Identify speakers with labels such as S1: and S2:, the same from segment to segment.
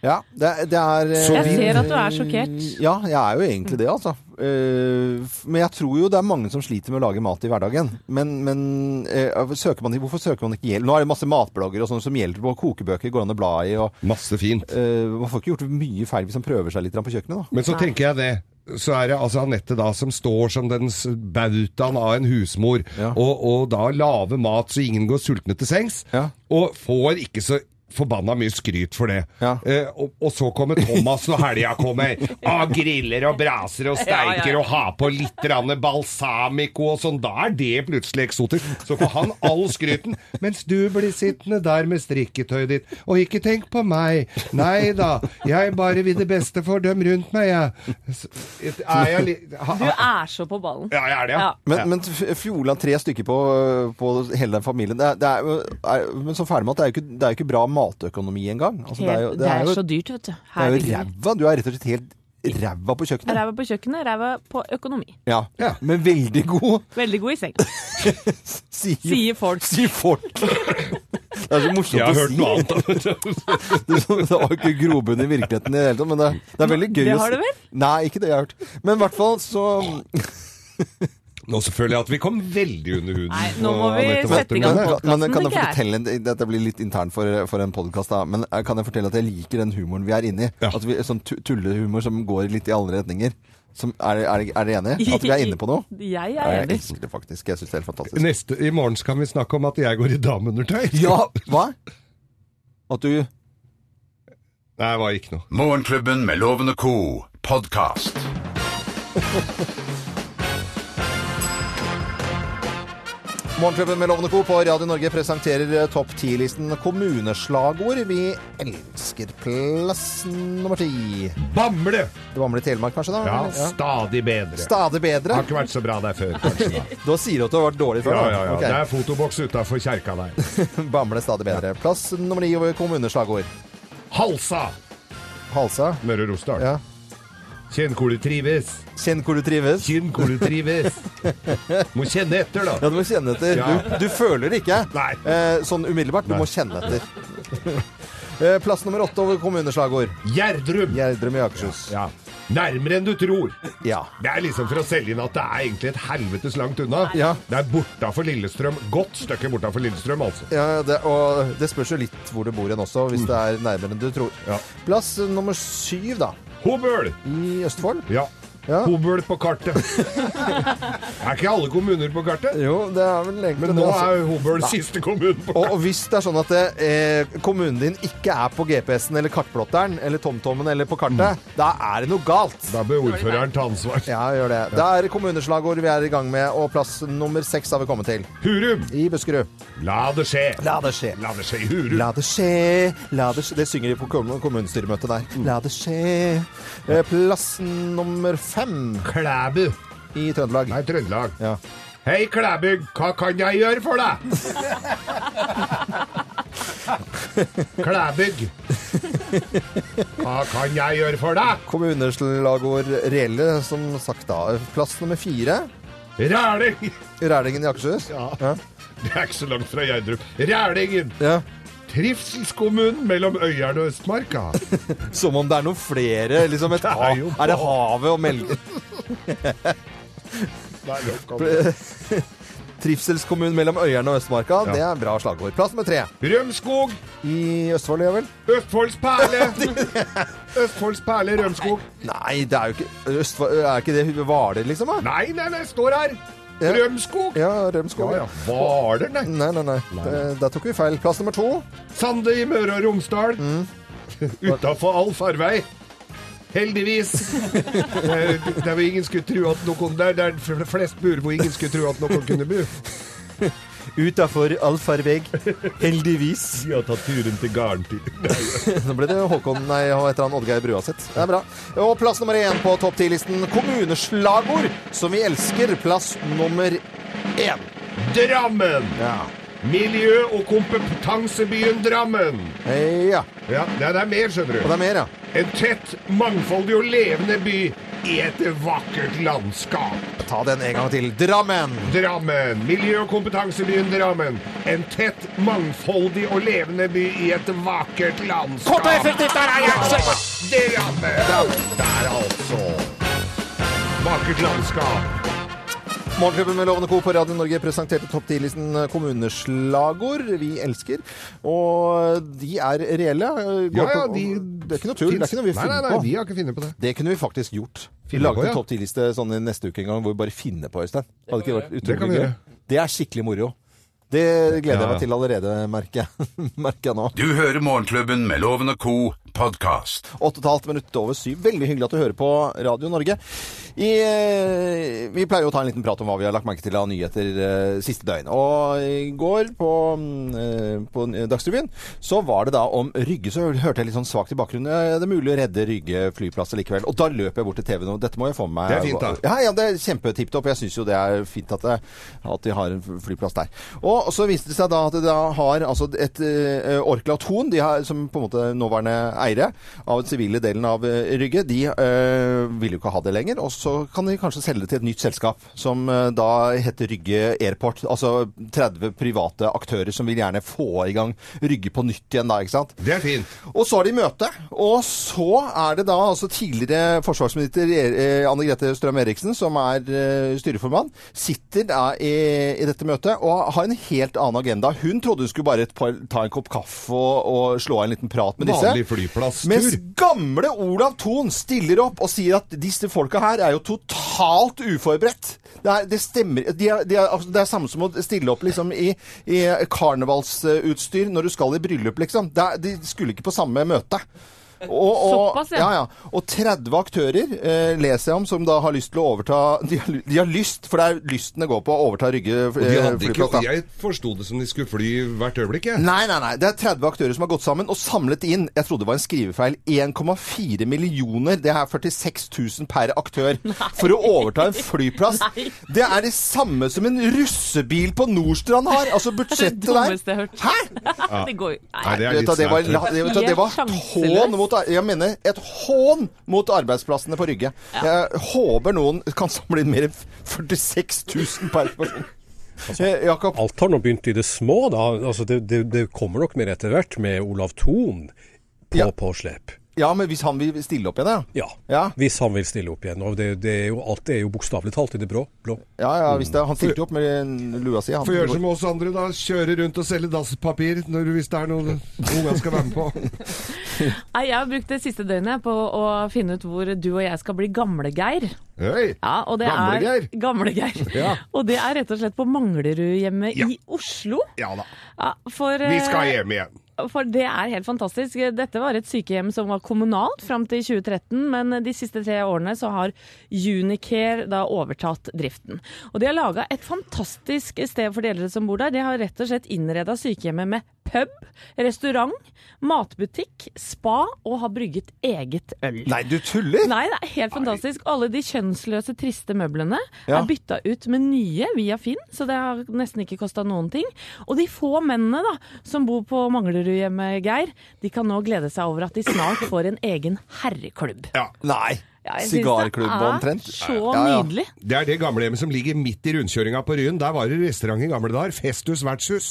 S1: Ja, det, det er
S2: Så
S1: eh,
S2: Jeg ser
S3: at du er sjokkert.
S1: Ja, jeg er jo egentlig det, altså. Eh, f- Men jeg tror jo det er mange som sliter med å lage mat i hverdagen. Men, men eh, søker man, hvorfor søker man ikke hjelp? Nå er det masse matblogger og sånn som hjelper på kokebøker, går an å bla i. Og,
S2: Masse fint.
S1: eh, man får ikke gjort mye feil hvis man prøver seg litt grann på kjøkkenet, da.
S2: Men så tenker jeg det. Så er det altså Anette da som står som den s- bautaen av en husmor,
S1: Ja.
S2: og, og da lave mat så ingen går sultne til sengs,
S1: Ja.
S2: og får ikke så forbanna mye skryt for det.
S1: Ja.
S2: Eh, og, og så kommer Thomas når helga kommer. Ah, griller og braser og steiker
S3: Ja, ja, ja.
S2: og har på litt grann balsamico og sånn. Da er det plutselig eksotisk. Så får han all skryten, mens du blir sittende der med strikketøyet ditt. Og ikke tenk på meg. Nei da, jeg bare vil det beste for dem rundt meg, jeg. S- Er jeg li... Ha,
S3: Du er så på ballen.
S2: ja, jeg er det, ja.
S3: Ja.
S1: Men, men f- Fjordland, tre stykker på, på hele den familien det er, det er, jo- er, Men så ferdig med at det er jo ikke, det er jo ikke bra matøkonomi engang. Altså, det er jo,
S3: Helt- det er
S1: jo,
S3: så dyrt, vet du.
S1: det er jo
S3: Herregud.
S1: ræva. Du er rett og slett helt ræva på kjøkkenet.
S3: Ræva på kjøkkenet, ræva på økonomi.
S1: Ja.
S2: Ja.
S1: Men veldig god,
S3: Veldig god i seng,
S1: sier,
S3: sier folk.
S1: sier folk. Det er så morsomt
S2: Jeg
S1: å
S2: har
S1: si.
S2: hørt noe annet.
S1: Det var jo ikke grobunn i virkeligheten i det hele tatt, men det, det er veldig gøy
S3: Det
S1: å
S3: har
S1: si-
S3: det vel?
S1: Nei, ikke det jeg har hørt. Men i hvert fall så
S2: Nå så føler jeg at vi kom veldig under huden.
S3: Nei, nå
S2: på
S3: må vi
S2: Anette
S3: sette i gang
S2: Waltermann.
S1: men,
S3: podcasten,
S1: men kan jeg
S3: tenker jeg.
S1: fortelle en- Dette blir litt intern for, for en podkast, da. Men eh, kan jeg fortelle at jeg liker den humoren vi er inni?
S2: Ja.
S1: At vi, sånn tu- tullehumor som går litt i alle retninger. Som, er, er, er dere enige? At vi er inne på noe?
S3: Jeg
S1: Nei,
S3: er
S1: Jeg
S3: enig.
S1: elsker det faktisk. Jeg syns det er helt fantastisk.
S2: Neste, I morgen skal vi snakke om at jeg går i dameundertøy.
S1: Ja, hva? At du
S2: Nei, det var ikke noe.
S4: Morgenklubben med Loven og Co. podkast.
S1: Morgenklubben med Lovende Co. på Radio Norge presenterer eh, topp 10-listen kommuneslagord. Vi elsker plass nummer ti.
S2: Bamble!
S1: Det var med i Telemark, kanskje? da?
S2: Ja,
S1: Eller? Ja.
S2: stadig bedre.
S1: Stadig bedre.
S2: Har ikke vært så bra der før, kanskje. Da.
S1: Da sier du at du har vært dårlig før.
S2: Ja,
S1: da.
S2: ja, ja.
S1: Ok.
S2: Det er fotoboks utafor kjerka der.
S1: Bamble stadig bedre. Plass nummer ni over kommuneslagord.
S2: Halsa!
S1: Halsa.
S2: Møre og Romsdal.
S1: Ja.
S2: Kjenn hvor du trives.
S1: Kjenn hvor du trives.
S2: Kjenn hvor du trives. Må kjenne etter, da.
S1: Ja, du må kjenne etter.
S2: Ja.
S1: Du, du føler det ikke
S2: Nei.
S1: eh, sånn umiddelbart. Du
S2: Nei.
S1: må kjenne etter. Eh, Plass nummer åtte over kommuneslagord.
S2: Gjerdrum.
S1: Gjerdrum i Akershus.
S2: Ja. Nærmere enn du tror.
S1: Ja.
S2: Det er liksom for å selge inn at det er egentlig et helvetes langt unna.
S1: Ja.
S2: Det er bortafor Lillestrøm. Godt stykke bortafor Lillestrøm, altså.
S1: Ja, det, og det spørs jo litt hvor du bor hen også, hvis det er nærmere enn du tror.
S2: Ja.
S1: Plass nummer syv, da,
S2: Hobøl!
S1: i Østfold.
S2: Ja.
S1: Ja.
S2: Hobøl på kartet. er ikke alle kommuner på kartet?
S1: Jo, det er vel egentlig
S2: Men nå
S1: altså.
S2: er Hobøl siste kommune på
S1: og, og hvis det er sånn at det, eh, kommunen din ikke er på GPS-en eller kartplotteren eller TomTommen eller på kartet, da er det noe galt.
S2: Da bør ordføreren ta ansvar.
S1: Ja, gjør det. Det er kommuneslagord vi er i gang med, og plass nummer seks har vi kommet til.
S2: Hurum!
S1: I Buskerud.
S2: La det skje!
S1: La det skje.
S2: La det skje i Hurum!
S1: La det skje, la det skje Det synger de på kommun- kommunestyremøtet der. La det skje. Eh, Plass nummer fem
S2: Klæbu!
S1: i Trøndelag.
S2: Nei, Trøndelag.
S1: Ja.
S2: Hei, Klæbu, hva kan jeg gjøre for deg? Klæbygg. Hva kan jeg gjøre for deg?
S1: Kommuneslagord reelle, som sagt da. Plass nummer fire.
S2: Ræling!
S1: Rælingen i Akershus.
S2: Ja.
S1: Ja.
S2: Det er ikke så langt fra Gjerdrup. Rælingen!
S1: Ja.
S2: Trivselskommunen mellom Øyeren og Østmarka.
S1: Som om det er noen flere. Liksom et
S2: Det er
S1: hav.
S2: jo
S1: Er det havet og melk...
S2: Nei, nå kan du-
S1: Trivselskommunen mellom Øyeren og Østmarka.
S2: Ja.
S1: Det er bra slagord. Plass nummer tre.
S2: Rømskog!
S1: I Østfold, ja vel?
S2: Østfolds perle! Østfolds perle Rømskog.
S1: Nei, det er jo ikke Østfold, Er ikke det Hvaler, liksom? da?
S2: Nei, nei, nei, står her!
S1: Ja.
S2: Rømskog!
S1: Ja, Rømskog.
S2: Ja, ja.
S1: Ja,
S2: Hvaler, nei.
S1: Nei, nei, nei. Det- Der tok vi feil. Plass nummer to.
S2: Sande i Møre og Romsdal. Utafor all farvei. Heldigvis. Eh, Det er jo ingen skulle tro at noen der, der f- flest bor hvor ingen skulle tro at noen kunne bo.
S1: Utafor allfarveg. Heldigvis.
S2: De har tatt turen til Garntid.
S1: Nå ble det Håkon, nei, hva heter han Oddgeir Brua sitt. Det er bra. Og plass nummer én på topp ti-listen. Kommuneslagord som vi elsker. Plass nummer én.
S2: Drammen!
S1: Ja.
S2: Miljø- og kompetansebyen Drammen.
S1: Eh, ja.
S2: Ja, det er- det er mer, skjønner
S1: Og det
S2: du.
S1: er mer, ja.
S2: En tett, mangfoldig og levende by i et vakkert landskap.
S1: Ta den en gang til. Drammen.
S2: Drammen. Miljø- og kompetansebyen Drammen. En tett, mangfoldig og levende by i et vakkert landskap.
S1: Kort og effektivt, der er jeg!
S2: Drammen! Der, altså. Vakkert landskap.
S1: Morgenklubben med Lovende Co. på Radio Norge presenterte topp 10-listen kommuneslagord vi elsker. Og de er reelle. Går
S2: Ja, ja,
S1: på-
S2: de
S1: det er ikke noe tull. Det er ikke noe vi
S2: Nei,
S1: finner
S2: nei, nei,
S1: på.
S2: vi har ikke funnet på det.
S1: Det kunne vi faktisk gjort. Vi
S2: Finne
S1: lagde
S2: på, ja.
S1: en topp 10-liste sånn i neste uke en gang hvor vi bare finner på, Øystein. Hadde ikke vært
S2: Det kan vi
S1: utrolig gøy.
S2: gjøre.
S1: Det er skikkelig moro. Det gleder
S2: Ja,
S1: jeg
S2: ja.
S1: meg til allerede, merker jeg, merker jeg nå.
S4: Du hører Morgenklubben med Loven og Co. podkast.
S1: Åtte og et halvt minutt over syv. Veldig hyggelig at du hører på Radio Norge. I, eh, vi pleier jo å ta en liten prat om hva vi har lagt merke til av nyheter eh, siste døgn. Og i går på, mm, eh, på Dagsrevyen så var det da om Rygge, så hørte jeg litt sånn svakt i bakgrunnen. eh, Det er mulig å redde Rygge flyplass likevel. Og da løp jeg bort til TV nå. Dette må jeg få med meg.
S2: Det er fint, da.
S1: Ja, ja, det er kjempetipp topp. Jeg syns jo det er fint at, det, at de har en flyplass der. Og så viste det seg da at de da har altså et eh, Orkla Thon, de har, som på en måte nåværende eiere av den sivile delen av eh, Rygge, de eh, vil jo ikke ha det lenger. Og så kan de kanskje selge det til et nytt selskap som eh, da heter Rygge Airport. Altså 30 private aktører som vil gjerne få i gang Rygge på nytt igjen da, ikke sant.
S2: Det er fint.
S1: Og så har de møte, og så er det da altså tidligere forsvarsminister eh, Anne Grete Strøm Eriksen, som er eh, styreformann, sitter da i, i dette møtet og har en helt annen agenda. Hun trodde hun skulle bare et par, ta en kopp kaffe og, og slå av en liten prat med disse.
S2: Vanlig flyplasstur.
S1: Mens gamle Olav Thon stiller opp og sier at disse folka her er jo totalt uforberedt. Det, er, det stemmer de er, de er, altså, Det er samme som å stille opp liksom, i, i karnevalsutstyr når du skal i bryllup, liksom. Det er, de skulle ikke på samme møte. Og, og,
S3: Såpass, ja.
S1: ja, ja. og 30 aktører eh, leser jeg om som da har lyst til å overta De har, ly- de har lyst, for det er lysten det går på, å overta Rygge eh,
S5: Og de hadde ikke,
S1: flyplass, da.
S5: jeg forsto det som de skulle fly hvert øyeblikk. Jeg.
S1: Nei, nei, nei. Det er 30 aktører som har gått sammen og samlet inn jeg trodde det var en skrivefeil 1,4 millioner. Det er 46 000 per aktør for å overta en flyplass.
S3: Nei.
S1: Det er det samme som en russebil på Nordstrand har. Altså
S3: Det
S1: budsjettet
S3: dummeste
S1: der.
S3: jeg har hørt.
S1: Hæ?
S3: Det går jo
S2: Nei, det
S3: Nei.
S2: er
S1: Vet du,
S2: litt
S1: det var,
S2: svært. tror jeg.
S1: vet du, det var
S3: Helt sjanseløs.
S1: hån mot, jeg mener, et hån mot arbeidsplassene på Rygge. Jeg håper noen kan samle inn mer enn 46 000 per person.
S2: Altså.
S1: Eh, Jakob?
S6: Alt har nå begynt i det små, da. Altså, det, det, det kommer nok mer etter hvert med Olav Thon på,
S1: Ja.
S6: på slep.
S1: Ja, men hvis han vil stille opp igjen, da?
S6: Ja.
S1: Ja.
S6: Hvis han vil stille opp igjen. Og det, det er jo, alt er jo bokstavelig talt i det brå. blå.
S1: Ja, ja,
S2: Mm.
S1: hvis det, han stilte jo opp med lua si. Han,
S2: Få gjøre som oss andre, da. Kjøre rundt og selge dasspapir når, hvis det er noe ungene skal være med på.
S3: Nei, jeg har brukt det siste døgnet på å finne ut hvor du og jeg skal bli gamle-Geir.
S2: Hei.
S3: Ja, og det
S2: Gamle-Geir?
S3: er Gamle-Geir.
S2: Ja.
S3: Og det er rett og slett på Manglerudhjemmet
S2: Ja.
S3: i Oslo.
S2: Ja da.
S3: Ja, for,
S2: Vi skal
S3: eh,
S2: hjem igjen.
S3: For det er helt fantastisk. Dette var et sykehjem som var kommunalt fram til 2013, men de siste tre årene så har Unicare da overtatt driften. Og de har laga et fantastisk sted for de eldre som bor der. De har rett og slett innreda sykehjemmet med pub, restaurant, matbutikk, spa og har brygget eget øl.
S1: Nei, du tuller!
S3: Nei, det er helt fantastisk. Alle de kjønnsløse, triste møblene
S1: Ja.
S3: er bytta ut med nye via Finn, så det har nesten ikke kosta noen ting. Og de få mennene da, som bor på Manglerudhjemmet, Geir, de kan nå glede seg over at de snart får en egen herreklubb.
S1: Nei.
S3: Ja, jeg synes
S1: Sigarklubb
S3: det er
S1: omtrent.
S3: Så
S1: Ja, ja.
S3: nydelig.
S2: Det er det gamlehjemmet som ligger midt i rundkjøringa på Ryen. Der var det restaurant i gamle dager. Festus vertshus.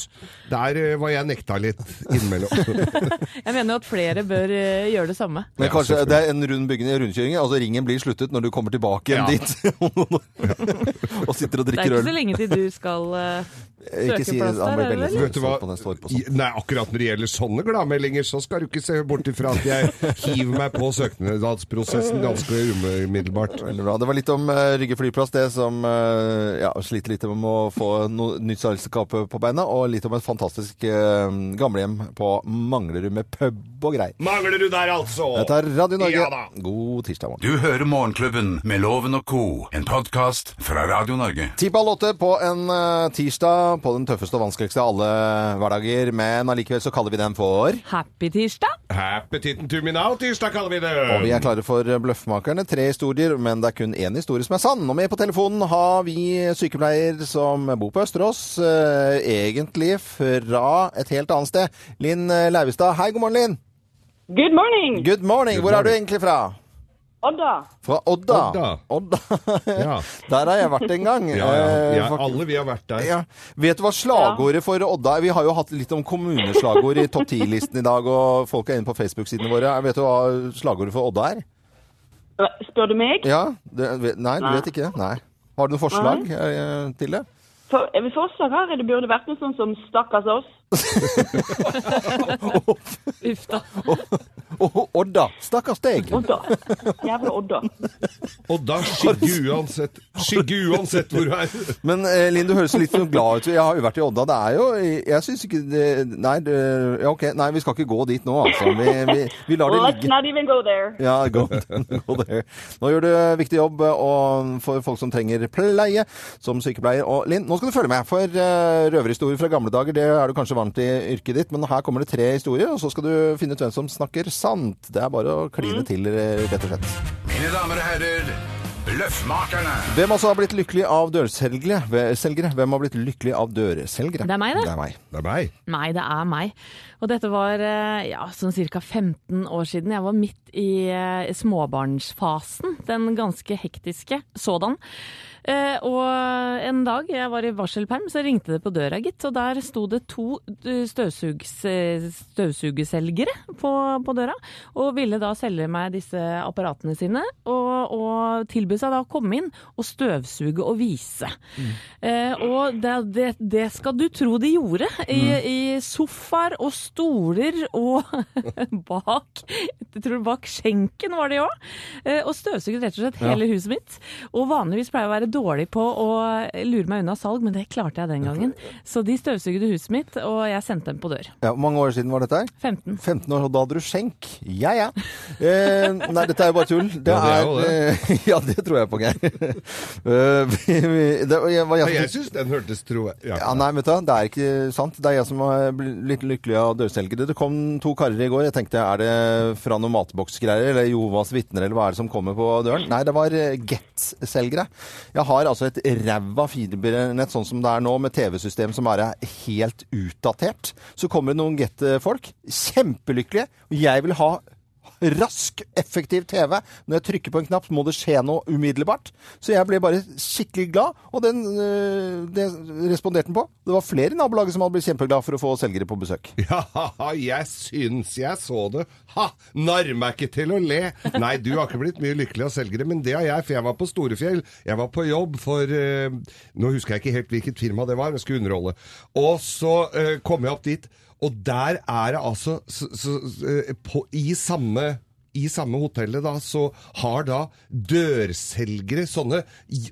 S2: Der eh, var jeg nekta litt innimellom.
S3: Jeg mener jo at flere bør eh, gjøre det samme.
S1: Men
S2: Ja,
S1: kanskje
S2: selvfølgelig.
S1: det er en rund byggende rundkjøring, altså ringen blir sluttet når du kommer tilbake igjen
S2: Ja.
S1: dit. og sitter og drikker
S3: Det er ikke
S1: øl.
S3: så lenge til du skal eh,
S1: Ikke si
S3: søkeplass
S1: han
S3: der,
S1: blir
S3: er det
S1: veldig
S3: vel?
S2: Vet du hva?
S1: på neste år på
S2: I-
S1: sånt.
S2: Nei, akkurat når det gjelder sånne gladmeldinger, så skal du ikke se bort ifra at jeg hiver meg på søknadsprosessen ganske umiddelbart.
S1: Veldig bra. Det var litt om eh, Rygge flyplass, det som eh, ja, sliter litt med å få noe nytt selskap på beina, og litt om et fantastisk eh, gamlehjem på Manglerud med pub og greier.
S2: Mangler du der, altså?
S1: Dette er Radio Norge.
S2: Ja da.
S1: God tirsdag morgen.
S4: Du hører Morgenklubben med Loven og co., en podkast fra Radio Norge.
S1: Ti på halv åtte på en eh, tirsdag på den tøffeste og vanskeligste av alle hverdager, men allikevel så kaller vi den for
S3: Happy tirsdag!
S2: Happy titten to me now, tirsdag kaller vi det.
S1: Og vi er klare for Bløffmakerne. Tre historier, men det er kun én historie som er sann. Og med på telefonen har vi sykepleier som bor på Østerås, eh, egentlig fra et helt annet sted. Linn eh, Leivestad. Hei, god morgen, Linn.
S7: Good morning,
S1: Good morning. Hvor er du egentlig fra?
S7: Odda.
S1: Fra Odda.
S2: Odda. Ja.
S1: Der har jeg vært en gang.
S2: Ja, ja,
S1: eh,
S2: ja,
S1: faktisk.
S2: alle vi har vært der.
S1: Ja. Vet du hva slagordet for Odda er? Vi har jo hatt litt om kommuneslagord i topp 10-listen i dag, og folk er inne på Facebook-sidene våre. Vet du hva slagordet for Odda er?
S7: Spør du meg?
S1: Ja, det, ve- nei, du vet ikke. Nei. Har du noen forslag eh, til det?
S7: For, jeg vil foreslå her, det burde vært noe sånn som stakkars oss.
S3: Uff da.
S1: Å, Odda! Stakkars deg!
S7: Odda. Jævla Odda.
S2: Og da skygge uansett, skygge uansett hvor du er.
S1: Men eh, Linn, du høres litt sånn glad ut. Jeg har jo vært i Odda. Det er jo Jeg syns ikke det Nei, det, ja, OK. Nei, vi skal ikke gå dit nå, altså. Vi, vi, vi lar det
S7: Let's
S1: ligge.
S7: not even go there.
S1: Ja, go, go there. Nå gjør du viktig jobb eh, og for folk som trenger pleie som sykepleier. Og Linn, nå skal du følge med, for eh, røverhistorier fra gamle dager det er du kanskje vant i yrket ditt, men her kommer det tre historier, og så skal du finne ut hvem som snakker sant. Det er bare å
S3: Mm.
S1: kline til, eh, rett og slett.
S4: Mine damer og herrer, Bløffmakerne.
S1: Hvem også har blitt lykkelig av dørselgere? Ve- selgere? Hvem har blitt lykkelig av dørselgere?
S3: Det er meg, det.
S1: Det er meg.
S2: Det er meg.
S3: Nei, det er meg. Og dette var eh, ja, sånn ca. 15 år siden. Jeg var midt i eh, småbarnsfasen, den ganske hektiske sådan. Eh, Og en dag jeg var i varselperm, så ringte det på døra, gitt. Og der sto det to eh, støvsugs, eh, støvsugerselgere på, på døra, og ville da selge meg disse apparatene sine. Og, og tilbød seg da å komme inn og støvsuge og vise. Eh, og det, det, det skal du tro de gjorde. I, i sofaer og stoler og bak jeg tror bak skjenken var de òg. Eh, og støvsugde rett og slett hele huset mitt. Og vanligvis pleier jeg å være dårlig på å lure meg unna salg, men det klarte jeg den gangen. Så de støvsugde huset mitt, og jeg sendte dem på dør.
S1: Ja, hvor mange år siden var dette? her?
S3: 15.
S1: 15 år, og da hadde du skjenk. Ja, ja. Eh, nei, dette er jo bare tull. Det
S2: Ja, det er jo
S1: er, eh, ja, det tror jeg på, Geir. Eh, vi- vi- det var jeg- var jeg som-
S2: Jeg syns den hørtes tro... Ja.
S1: Ja, nei, vet du, hva, det er ikke sant. Det er jeg som har blitt lykkelig av dørselgere. Det kom to karer i går. Jeg tenkte, er det fra noen matboksgreier, eller Jovas vitner, eller hva er det som kommer på døren? Nei, det var Get-selgere. Jeg har altså et ræva fibernett, sånn som det er nå, med TV-system som er helt utdatert. Så kommer det noen Get-folk, kjempelykkelige, og jeg vil ha rask, effektiv TV. Når jeg trykker på en knapp, så må det skje noe umiddelbart. Så jeg ble bare skikkelig glad, og den, øh, det responderte den på. Det var flere i nabolaget som hadde blitt kjempeglad for å få selgere på besøk.
S2: Ja, jeg syns jeg så det. Ha! Narr meg ikke til å le. Nei, du har ikke blitt mye lykkelig av selgere, men det har jeg, for jeg var på Storefjell. Jeg var på jobb for eh, Nå husker jeg ikke helt hvilket firma det var, men jeg skulle underholde. Og så eh, kom jeg opp dit, og der er det altså s- s- s- eh, på, I samme i samme hotellet da, så har da dørselgere sånne,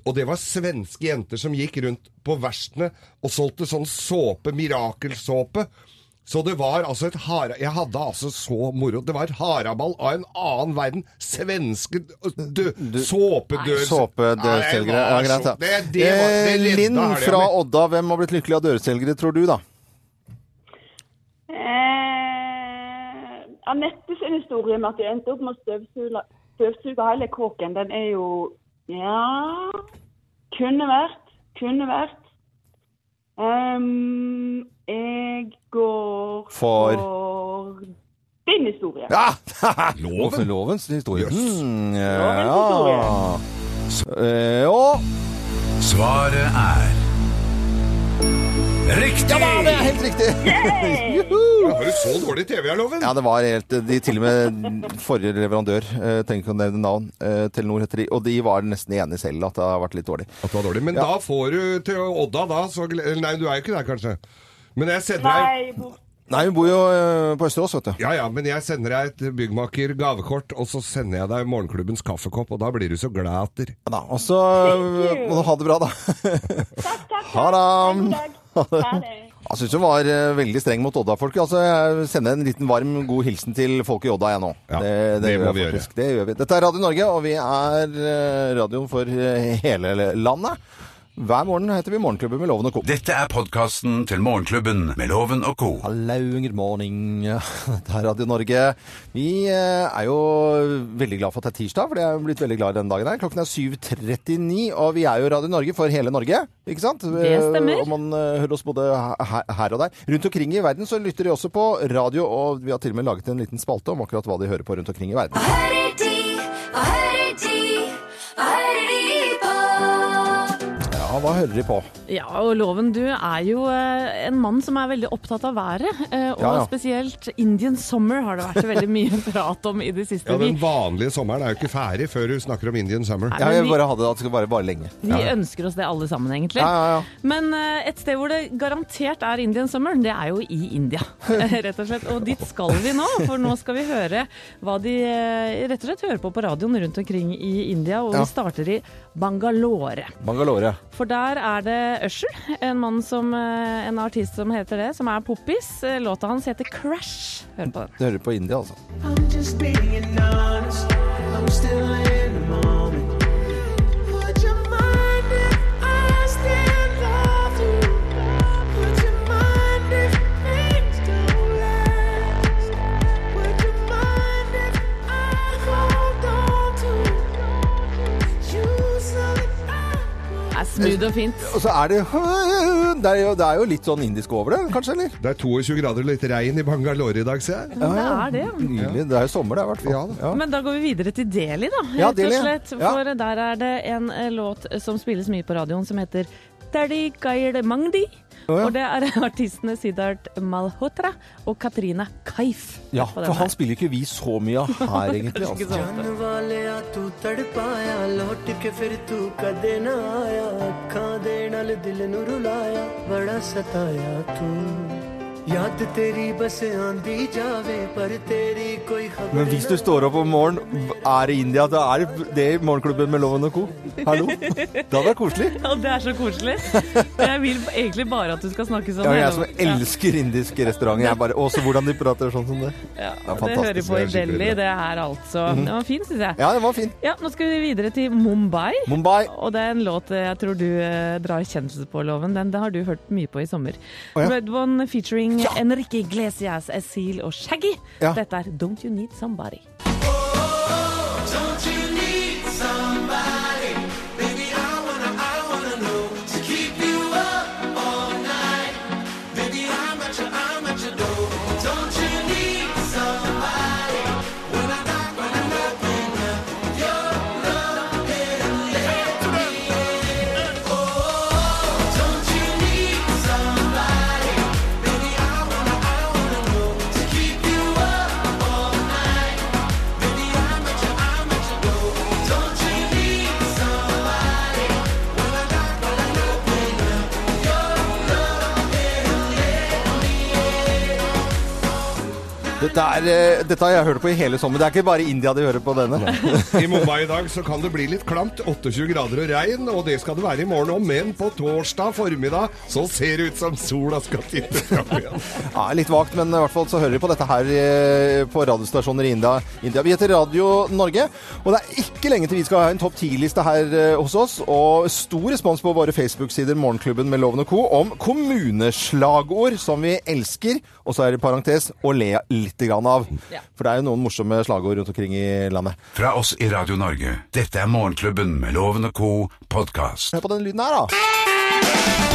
S2: og det var svenske jenter som gikk rundt på verstene og solgte sånn såpe, mirakelsåpe. Så det var altså et hara... Jeg hadde altså så moro. Det var et haraball av en annen verden. Svenske dø... Såpedør...
S1: Såpedørselgere. Ja, greit, ja.
S2: Det, det var, det
S1: Eh,
S2: redda
S1: Linn
S2: helga
S1: fra
S2: mi.
S1: Odda, hvem har blitt lykkelig av dørselgere, tror du, da?
S7: Eh, Anette sin Eh, historie med at de endte opp med å støvsuge, støvsuge hele kåken, den er jo Ja Kunne vært. Kunne vært. Ehm, jeg går
S1: For?
S7: for din historie.
S1: Ja!
S2: Loven?
S1: Lovens historie.
S2: Yes.
S1: Hmm, ja.
S7: Lovens
S1: Eh, og
S4: Svaret er Riktig!
S1: Ja da, det er helt riktig!
S2: Ja, Har du så dårlig TV, ja, Loven?
S1: Ja, det var helt de, Til og med forrige leverandør, eh, trenger ikke å nevne navn, eh, Telenor heter de, og de var nesten enige selv at det har vært litt dårlig.
S2: At det var dårlig. Men da får du til Odda, da. Så, gle- eller nei, du er jo ikke der, kanskje. Men jeg sender deg
S7: Nei, bort
S1: Nei, hun bor jo eh, på Østerås, vet du.
S2: Ja, ja, men jeg sender deg et byggmaker gavekort, og så sender jeg deg morgenklubbens kaffekopp, og da blir du så glad atter.
S1: Ja, da, og så
S7: Thank you.
S1: eh, må du ha det bra, da.
S7: Takk, takk.
S1: Ha det.
S7: takk. God dag. Ha det.
S1: Jeg syns hun var eh, veldig streng mot Odda-folket. Altså, jeg sender en liten varm, god hilsen til folk i Odda, jeg nå.
S2: Ja, det må
S1: gjør jeg
S2: vi gjøre.
S1: faktisk. Det gjør vi. Dette er Radio Norge, og vi er eh, radioen for eh, hele landet. Hver morgen heter vi Morgenklubben med Loven og Co.
S4: Dette er podkasten til Morgenklubben med Loven og co.
S1: Hallo, good morning. Dette er Radio Norge. Vi eh, er jo veldig glad for at det er tirsdag, for det er jo blitt veldig glad i denne dagen her. Klokken er 7.39, og vi er jo Radio Norge for hele Norge, ikke sant?
S3: Det stemmer.
S1: Eh, Og man eh, hører oss både her, her og der. Rundt omkring i verden så lytter de også på radio, og vi har til og med laget en liten spalte om akkurat hva de hører på rundt omkring i verden.
S8: Hva hører de, hva hører de, hva hører de på?
S1: Ja, hva hører de på?
S3: Ja, og Loven, du er jo eh, en mann som er veldig opptatt av været. eh, Og
S1: Ja, ja.
S3: spesielt Indian summer har det vært veldig mye prat om i det siste.
S2: Ja, Den
S3: vi,
S2: vanlige sommeren er jo ikke ferdig før du snakker om Indian Summer.
S3: Nei,
S1: Ja,
S3: men
S1: jeg
S3: vi-
S1: bare hadde det at det skal vare bare lenge.
S3: vi ønsker oss det alle sammen, egentlig.
S1: Ja, ja, ja.
S3: Men eh, et sted hvor det garantert er Indian summer, det er jo i India, rett og slett. Og dit skal vi nå, for nå skal vi høre hva de eh, rett og slett hører på på radioen rundt omkring i India, og
S1: Ja.
S3: vi starter i Bangalore.
S1: Bangalore.
S3: For der er det Usher, en mann som, eh, en artist som heter det, som er poppis. Eh, Låta hans heter Crash. Hør på den.
S1: Du hører på India, altså.
S9: I'm just being honest. I'm still in the moment. Would you mind if I still love you? Would you mind if things don't last? Would you mind if I hold on to you so that I
S3: Det er smooth og fint.
S1: Og så er det Det er jo, det er jo litt sånn indisk over det, kanskje, eller?
S2: Det er 22 grader og litt regn i Bangalore i dag, ser jeg.
S3: Det er det, ja.
S1: Nydelig. Det er jo sommer, det, i hvert fall.
S2: Ja da.
S1: Ja.
S3: Men da går vi videre til Delhi, da.
S1: Ja,
S3: Rett og
S1: Delhi, ja.
S3: slett.
S1: Ja.
S3: For der er det en eh, låt som spilles mye på radioen som heter Daddy Gaide Mangdi.
S1: Å, ja.
S3: Og det er artistene Siddharth Malhotra og Katrina Kaif.
S1: Ja,
S3: Hør på
S1: for
S3: den her.
S1: han spiller ikke vi så mye av her, egentlig. Altså.
S3: Ikke så ofte.
S9: ਜਾਣ ਵਾਲਿਆ ਤੂੰ ਤੜਪਾਇਆ ਲੌਟ ਕੇ ਫਿਰ ਤੂੰ ਕਦੇ ਨਾ ਆਇਆ ਅੱਖਾਂ ਦੇ ਨਾਲ ਦਿਲ ਨੂੰ ਰੁਲਾਇਆ ਬੜਾ ਸਤਾਇਆ ਤੂੰ ਯਾਦ ਤੇਰੀ ਬਸ ਆਂਦੀ ਜਾਵੇ ਪਰ ਤੇਰੀ ਕੋਈ ਖਬਰ
S1: Men hvis du står opp om morgenen, er i India, da er det det i Morgenklubben med Loven og co. Hallo? Det hadde vært koselig.
S3: Ja, det er så koselig. Jeg vil egentlig bare at du skal snakke sånn.
S1: Ja, jeg
S3: hele-
S1: som elsker indiske restauranter. Jeg bare Også hvordan de prater sånn som det. er
S3: Ja, det
S1: fantastisk.
S3: hører vi på
S2: Det
S3: i
S2: er skikkelig
S3: Delhi, det her altså. Det var fint, syns jeg. Ja.
S1: Mhm. Ja, det var fint.
S3: nå skal vi videre til Mumbai.
S1: Mumbai.
S3: Og det er en låt jeg tror du eh, drar kjensel på, Loven. Den, den har du hørt mye på i sommer.
S1: Å, ja.
S3: Red One featuring Enrique Iglesias, Esil og Shaggy.
S1: Ja.
S3: Dette er Don't You Need Somebody.
S9: Don't you need somebody? Baby, I wanna, I wanna know to keep you up all night. Baby, I'm at your, I'm at your door. Don't you need somebody? When I knock, when I open up, your love is there. Oh, don't you need somebody? Baby, I wanna, I wanna know to keep you up all night. Baby, I'm at your, I'm at your door. Don't you need somebody? When I knock, when I open up, your love
S1: Dette, er, eh, dette har jeg hørt på i hele sommer. Det er ikke bare i India de hører på denne.
S2: I Mumbai i dag så kan det bli litt klamt. 28 grader og regn, og det skal det være i morgen òg. Men på torsdag formiddag så ser det ut som sola skal titte fram igjen.
S1: Ja, litt vagt, men i hvert fall så hører vi på dette her eh, på radiostasjoner i India. India. Vi heter Radio Norge, og det er ikke lenge til vi skal ha en topp 10-liste her eh, hos oss. Og stor respons på våre Facebook-sider Morgenklubben med Loven og Co. om kommuneslagord som vi elsker, og så er det i parentes, og le litt litt grann av.
S3: Ja.
S1: For det er jo noen morsomme slagord rundt omkring i landet.
S4: Fra oss i Radio Norge. Dette er Morgenklubben med Loven og co. podkast.
S1: Hør på den lyden her, da.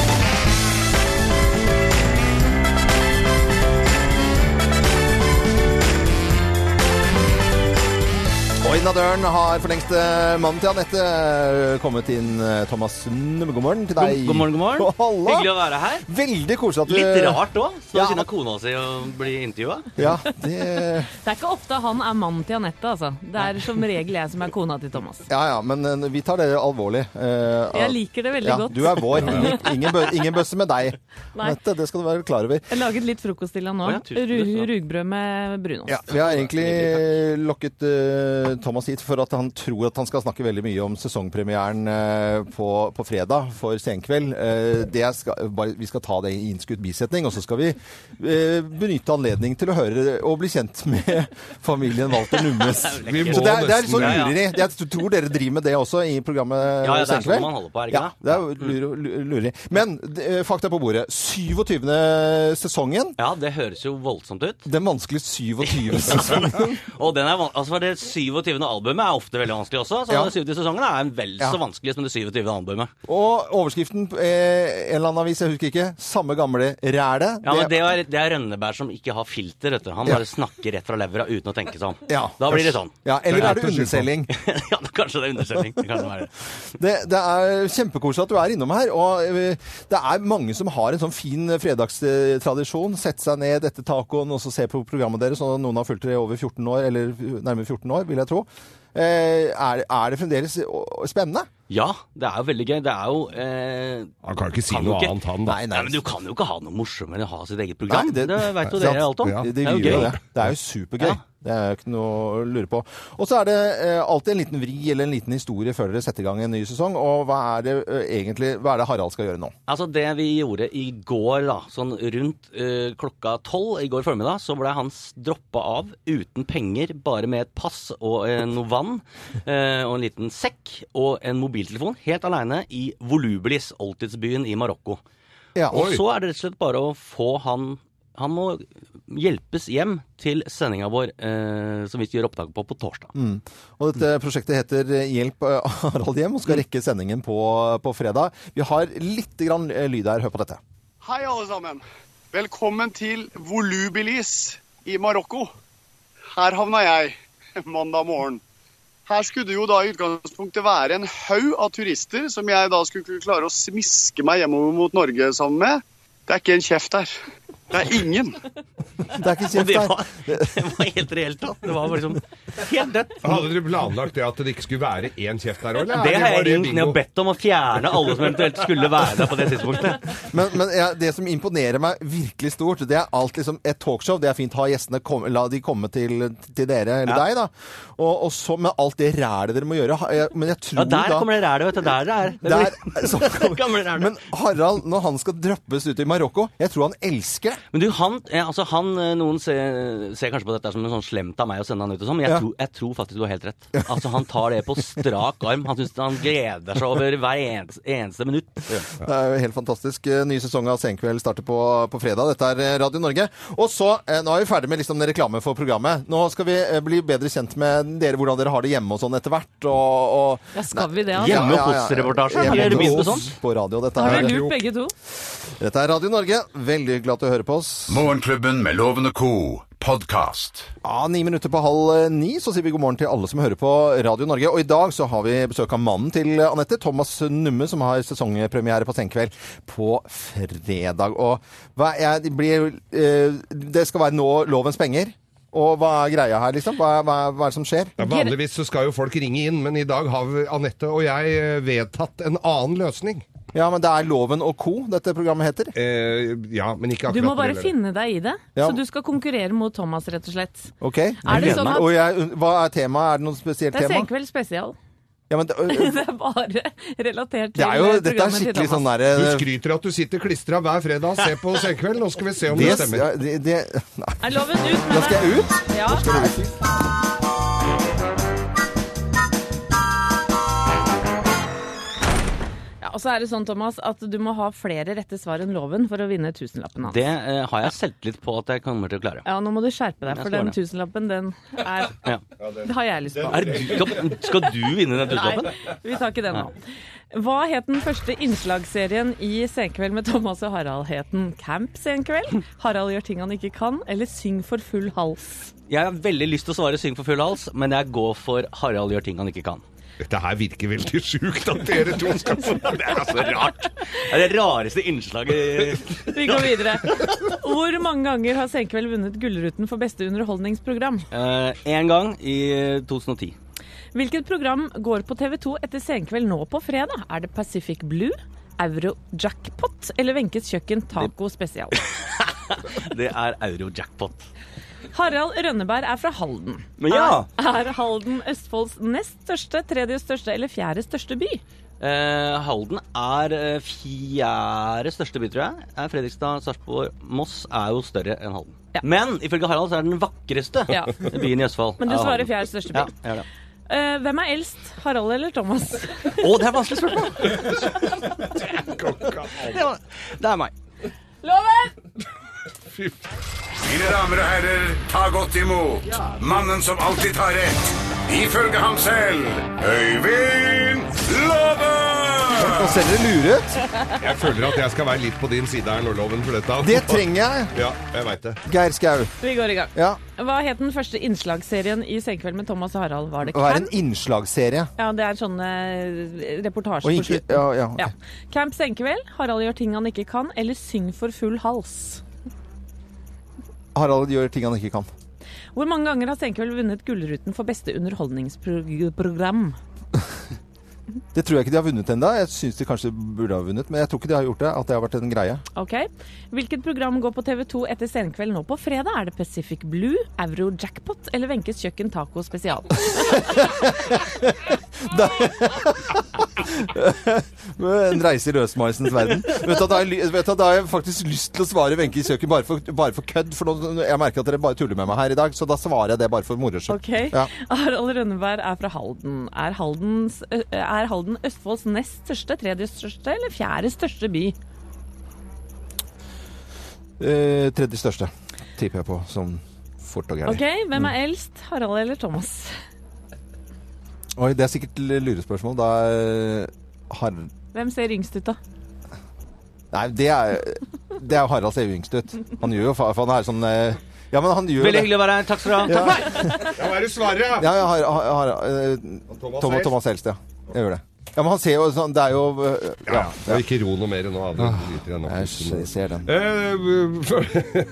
S1: Og innen døren har for lengst eh, mannen til Anette eh, kommet inn. eh, Thomas Numme, god morgen til deg.
S10: God god morgen, god morgen.
S1: Halla.
S10: Hyggelig å være her.
S1: Veldig koselig at du
S10: Litt rart òg, så
S1: Ja.
S10: siden av kona si å bli intervjua.
S1: Ja, det
S3: Det er ikke ofte han er mannen til Anette, altså. Det er som regel jeg som er kona til Thomas.
S1: Ja, ja, men eh, vi tar det alvorlig. Eh,
S3: Jeg liker det veldig
S1: ja,
S3: godt.
S1: Du er vår. Ingen, ingen, bø ingen bøsse med deg.
S3: Nei.
S1: Dette, det skal du være klar over.
S3: Jeg laget litt frokost til han nå.
S10: Å ja, tusen
S3: Ru-
S10: takk.
S3: Rugbrød med brunost.
S1: Ja, vi har egentlig eh, lokket eh, Thomas hit for at han tror at han skal snakke veldig mye om sesongpremieren eh, på, på fredag for Senkveld. Eh, det skal, bare, vi skal ta det i innskutt bisetning, og så skal vi eh, benytte anledning til å høre og bli kjent med familien Walter Nummes.
S10: Vi
S1: Så det er,
S10: må
S1: det er litt
S10: nesten-
S1: sånn
S10: Ja, ja.
S1: lureri. Jeg tror dere driver med det også i programmet
S10: Ja, ja, det er
S1: Senkveld.
S10: sånn man holder på, er det
S1: Ja,
S10: ikke
S1: det er jo lure- lure- lureri. Men eh, fakta på bordet. 27. sesongen.
S10: Ja, det høres jo voldsomt ut.
S1: Den vanskelige 27. sesongen.
S10: Og den er van altså for det 27. albumet er ofte veldig vanskelig også. Så
S1: Ja.
S10: den 27. sesongen er vel
S1: Ja.
S10: så vanskelig som det 27. albumet.
S1: Og overskriften på eh, en eller annen avis, jeg husker ikke. Samme gamle ræle.
S10: Ja, men det er, det er Rønneberg som ikke har filter, vet du. Han bare snakker rett fra levra uten å tenke seg om.
S1: Ja.
S10: Da blir det sånn.
S1: Ja, eller
S11: Det er
S1: er det
S11: ikke å skylde
S1: underselling?
S10: ja, da kanskje det er undersøkning. Det kan det være.
S1: Det, det er kjempekoselig at du er innom her. Og eh, det er mange som har en sånn fin fredagstradisjon. Sette seg ned etter tacoen og så se på programmet deres. Og noen har fulgt det i over 14 år, eller nærmere 14 år, vil jeg tro. Eh, Er, er det fremdeles eh, spennende?
S10: Ja, det er jo veldig gøy. Det er jo eh,
S11: Han kan ikke si
S10: Kan du
S11: noe
S10: ikke?
S11: annet, han da.
S10: Nei, men du kan jo ikke ha noe morsommere enn å ha sitt eget program.
S1: Nei,
S10: det
S1: det-
S10: det veit jo
S1: Sant.
S10: dere alt om.
S11: Ja.
S1: Det,
S10: Det er jo
S1: vil jo
S10: gøy.
S1: det. Det er jo supergøy.
S10: Ja.
S1: Det er jo ikke noe å lure på. Og så er det eh, alltid en liten vri eller en liten historie før dere setter i gang en ny sesong. Og hva er det eh, egentlig hva er det Harald skal gjøre nå?
S10: Altså Det vi gjorde i går, da, sånn rundt eh, klokka tolv i går formiddag, så ble han s- droppa av uten penger, bare med et pass og eh, noe vann eh, og en liten sekk og en mobiltelefon, helt aleine i Volubilis, oldtidsbyen i Marokko.
S1: Ja,
S10: Og så er det rett og slett bare å få han Han må hjelpes hjem til sendinga vår eh, som vi gjør opptak på på torsdag.
S1: Mm. Og dette prosjektet heter Hjelp eh, Harald hjem, og skal rekke sendingen på, på fredag. Vi har litt grann eh, lyd her. Hør på dette.
S12: Hei, alle sammen. Velkommen til Volubilis i Marokko. Her havna jeg mandag morgen. Her skulle det jo da i utgangspunktet være en haug av turister som jeg da skulle kunne klare å smiske meg hjemover mot Norge sammen med. Det er ikke en kjeft her. Det er ingen.
S1: Det er ikke
S10: Og
S1: kjeft
S10: det
S1: her.
S10: var, det var helt reelt, da. Det var bare liksom helt dødt.
S11: Hadde dere planlagt det at det ikke skulle være én kjeft der òg, eller?
S10: Det har
S11: var
S10: jeg ringt ned
S11: bingo?
S10: og bedt om å fjerne alle som eventuelt skulle være der på det tidspunktet.
S1: Men, men ja, det som imponerer meg virkelig stort, det er alt liksom Et talkshow, det er fint. Ha gjestene, kom, la de komme til, til dere eller deg, da. Og, og så med alt det rælet dere må gjøre. ha- jeg- Men jeg tror
S10: Ja, der
S1: da
S10: kommer det rælet, vet du. Der det er.
S1: Der, så
S10: Der kommer det rælet.
S1: Men Harald, når han skal drøppes ut i Marokko, jeg tror han elsker det.
S10: Men du, han, eh, altså han eh, Noen ser, ser kanskje på dette som en sånn slemt av meg å sende han ut og sånn, men jeg,
S1: Ja.
S10: tror, jeg tror faktisk du har helt rett. Altså, han tar det på strak arm. Han, synes, han gleder seg over hver eneste, eneste minutt.
S1: Det er jo helt fantastisk. Eh, Ny sesong av Senkveld starter på, på fredag. Dette er eh, Radio Norge. Og så, eh, nå er vi ferdig med liksom den reklame for programmet. Nå skal vi eh, bli bedre kjent med dere, hvordan dere har det hjemme og sånn etter hvert. Og, og
S3: Ja, skal vi det, altså?
S10: Hjemme hos reportasje?
S1: Hjemme
S10: Har dere begynt med
S1: hos-
S10: sånt?
S1: På radio, dette
S3: Har
S1: er,
S3: dere lurt begge to?
S1: dette er Radio Norge. Veldig glad til å høre på oss.
S4: Morgenklubben med Loven og co. podkast.
S1: Ja, Ni minutter på halv eh, ni, så sier vi god morgen til alle som hører på Radio Norge. Og i dag så har vi besøk av mannen til eh, Anette, Thomas Numme, som har sesongpremiere på Senkveld på fredag. Og hva er, det blir, eh, det skal være nå lovens penger. Og hva er greia her, liksom? Hva, hva, hva er det som skjer?
S11: Ja, vanligvis så skal jo folk ringe inn, men i dag har vi- Anette og jeg eh, vedtatt en annen løsning.
S1: Ja, men det er Loven og co. dette programmet heter.
S11: Eh, ja, men ikke akkurat
S3: Du må
S11: når det
S3: bare
S11: gjelder-
S3: finne deg i det.
S1: Ja.
S3: Så du skal konkurrere mot Thomas, rett og slett.
S1: Ok?
S3: Er det sånn at-
S1: Og jeg, hva er temaet? Er det noe spesielt
S3: Det er
S1: tema?
S3: Senkveld spesial.
S1: Ja, men det, øh,
S3: Det er bare relatert til
S1: det er jo,
S3: eh,
S1: dette er
S3: programmet til
S1: skikkelig sånn
S3: Thomas.
S11: Du
S1: derre
S11: skryter at du sitter klistra hver fredag og ser på Senkveld. Nå skal vi se om det,
S1: det,
S11: stemmer.
S1: ja, det, det, nei,
S3: Er loven ut med
S1: da skal jeg ut.
S3: deg? Ja. ja, og så er det sånn, Thomas, at du må ha flere rette svar enn loven for å vinne tusenlappen hans.
S10: Det eh, har jeg selvtillit på at jeg kommer til å klare.
S3: Ja, nå må du skjerpe deg,
S10: Jeg
S3: for
S10: skal
S3: den
S10: ordne.
S3: tusenlappen, den er
S10: Ja.
S3: Det har jeg lyst på.
S10: Er du, skal, skal du vinne den tusenlappen?
S3: Nei, vi tar ikke den nå. Hva het den første innslagsserien i Senkveld med Thomas og Harald? Het den Camp Senkveld? Harald gjør ting han ikke kan? Eller Syng for full hals?
S10: Jeg har veldig lyst til å svare 'Syng for full hals', men jeg går for 'Harald gjør ting han ikke kan'.
S2: Dette her virker veldig sjukt at dere to skal få Det er så rart.
S10: Det er det rareste innslaget
S3: Vi går videre. Hvor mange ganger har Senkveld vunnet Gullruten for beste underholdningsprogram?
S10: Én Eh, gang i eh, 2010.
S3: Hvilket program går på TV 2 etter Senkveld nå på fredag? Er det Pacific Blue, Eurojackpot eller Wenches kjøkken taco spesial?
S10: Det er euro-jackpot.
S3: Harald Rønneberg er fra Halden.
S10: Men ja!
S3: Er, er Halden Østfolds nest største, tredje største eller fjerde største by?
S10: Eh, Halden er eh, fjerde største by, tror jeg. Er Fredrikstad, Sarpsborg, Moss er jo større enn Halden. Men ifølge Harald så er den vakreste
S3: Ja.
S10: byen i Østfold.
S3: Men du
S10: er
S3: svarer
S10: Halden.
S3: fjerde største by.
S10: Ja, jeg gjør det.
S3: Eh, hvem er eldst, Harald eller Thomas?
S10: Å, det er et vanskelig spørsmål! det, var, det er meg.
S3: Loven!
S4: Mine damer og herrer, ta godt imot mannen som alltid tar rett, ifølge ham selv, Øyvind Låve!
S1: Nå ser dere lure ut.
S2: Jeg føler at jeg skal være litt på din side her, Lolloven, for dette.
S1: Det trenger jeg.
S2: Ja, jeg veit det.
S1: Geir Skau.
S3: Vi går i gang.
S1: Ja.
S3: Hva het den første innslagsserien i Senkveld med Thomas og Harald? Var det
S1: Hva er
S3: Camp?
S1: en innslagsserie?
S3: Ja, det er sånne eh,
S1: Og
S3: reportasjer på
S1: ikke,
S3: slutten.
S1: ja, ja.
S3: Ja. Camp Senkveld, Harald gjør ting han ikke kan, eller Syng for full hals.
S1: Harald gjør ting han ikke kan.
S3: Hvor mange ganger har Senkveld vunnet Gullruten for beste underholdningsprogram?
S1: Det tror jeg ikke de har vunnet ennå. Jeg syns de kanskje burde ha vunnet, men jeg tror ikke de har gjort det. At det har vært en greie.
S3: Ok. Hvilket program går på TV 2 etter Senkveld nå på fredag? Er det Pacific Blue, Euro Jackpot eller Wenches kjøkken taco spesial?
S1: En reise i løsmaisens verden. Vet du, at da har jeg, ly- vet du, at da har jeg faktisk lyst til å svare Wenche i kjøkken bare for, bare for kødd. For nå, jeg merker at dere bare tuller med meg her i dag, så da svarer jeg det bare for moro skyld.
S3: Ok.
S1: Ja.
S3: Harald Rønneberg er fra Halden. Er, Haldens, ø- er Halden Østfolds nest største, tredje største eller fjerde største by?
S1: Eh, tredje største tipper jeg på, sånn fort og gærent.
S3: Ok, Hvem er eldst, Harald eller Thomas?
S1: Oi, det er sikkert l- lurespørsmål. Da eh, er Har...
S3: Hvem ser yngst ut, da?
S1: Nei, det er, det er Harald ser yngst ut. Han gjør jo fa- for han er sånn eh, Ja, men han gjør jo
S10: Veldig
S1: det.
S10: hyggelig å være her. Takk skal du ha.
S1: Ja.
S2: Ja, hva er det du svarer, da?
S1: Ja, ja, har, har, har, eh,
S2: Thomas
S1: Thomas,
S2: Helst?
S1: Thomas Helst, ja. Jeg gjør det. Ja, men han ser jo sånn Det er jo eh,
S2: Ja,
S1: Ja.
S2: ja. Og ikke ro noe mer nå. Adrian.
S1: Ah,
S2: Driter jeg nå.
S1: Jeg ser- ser den.
S2: Eh,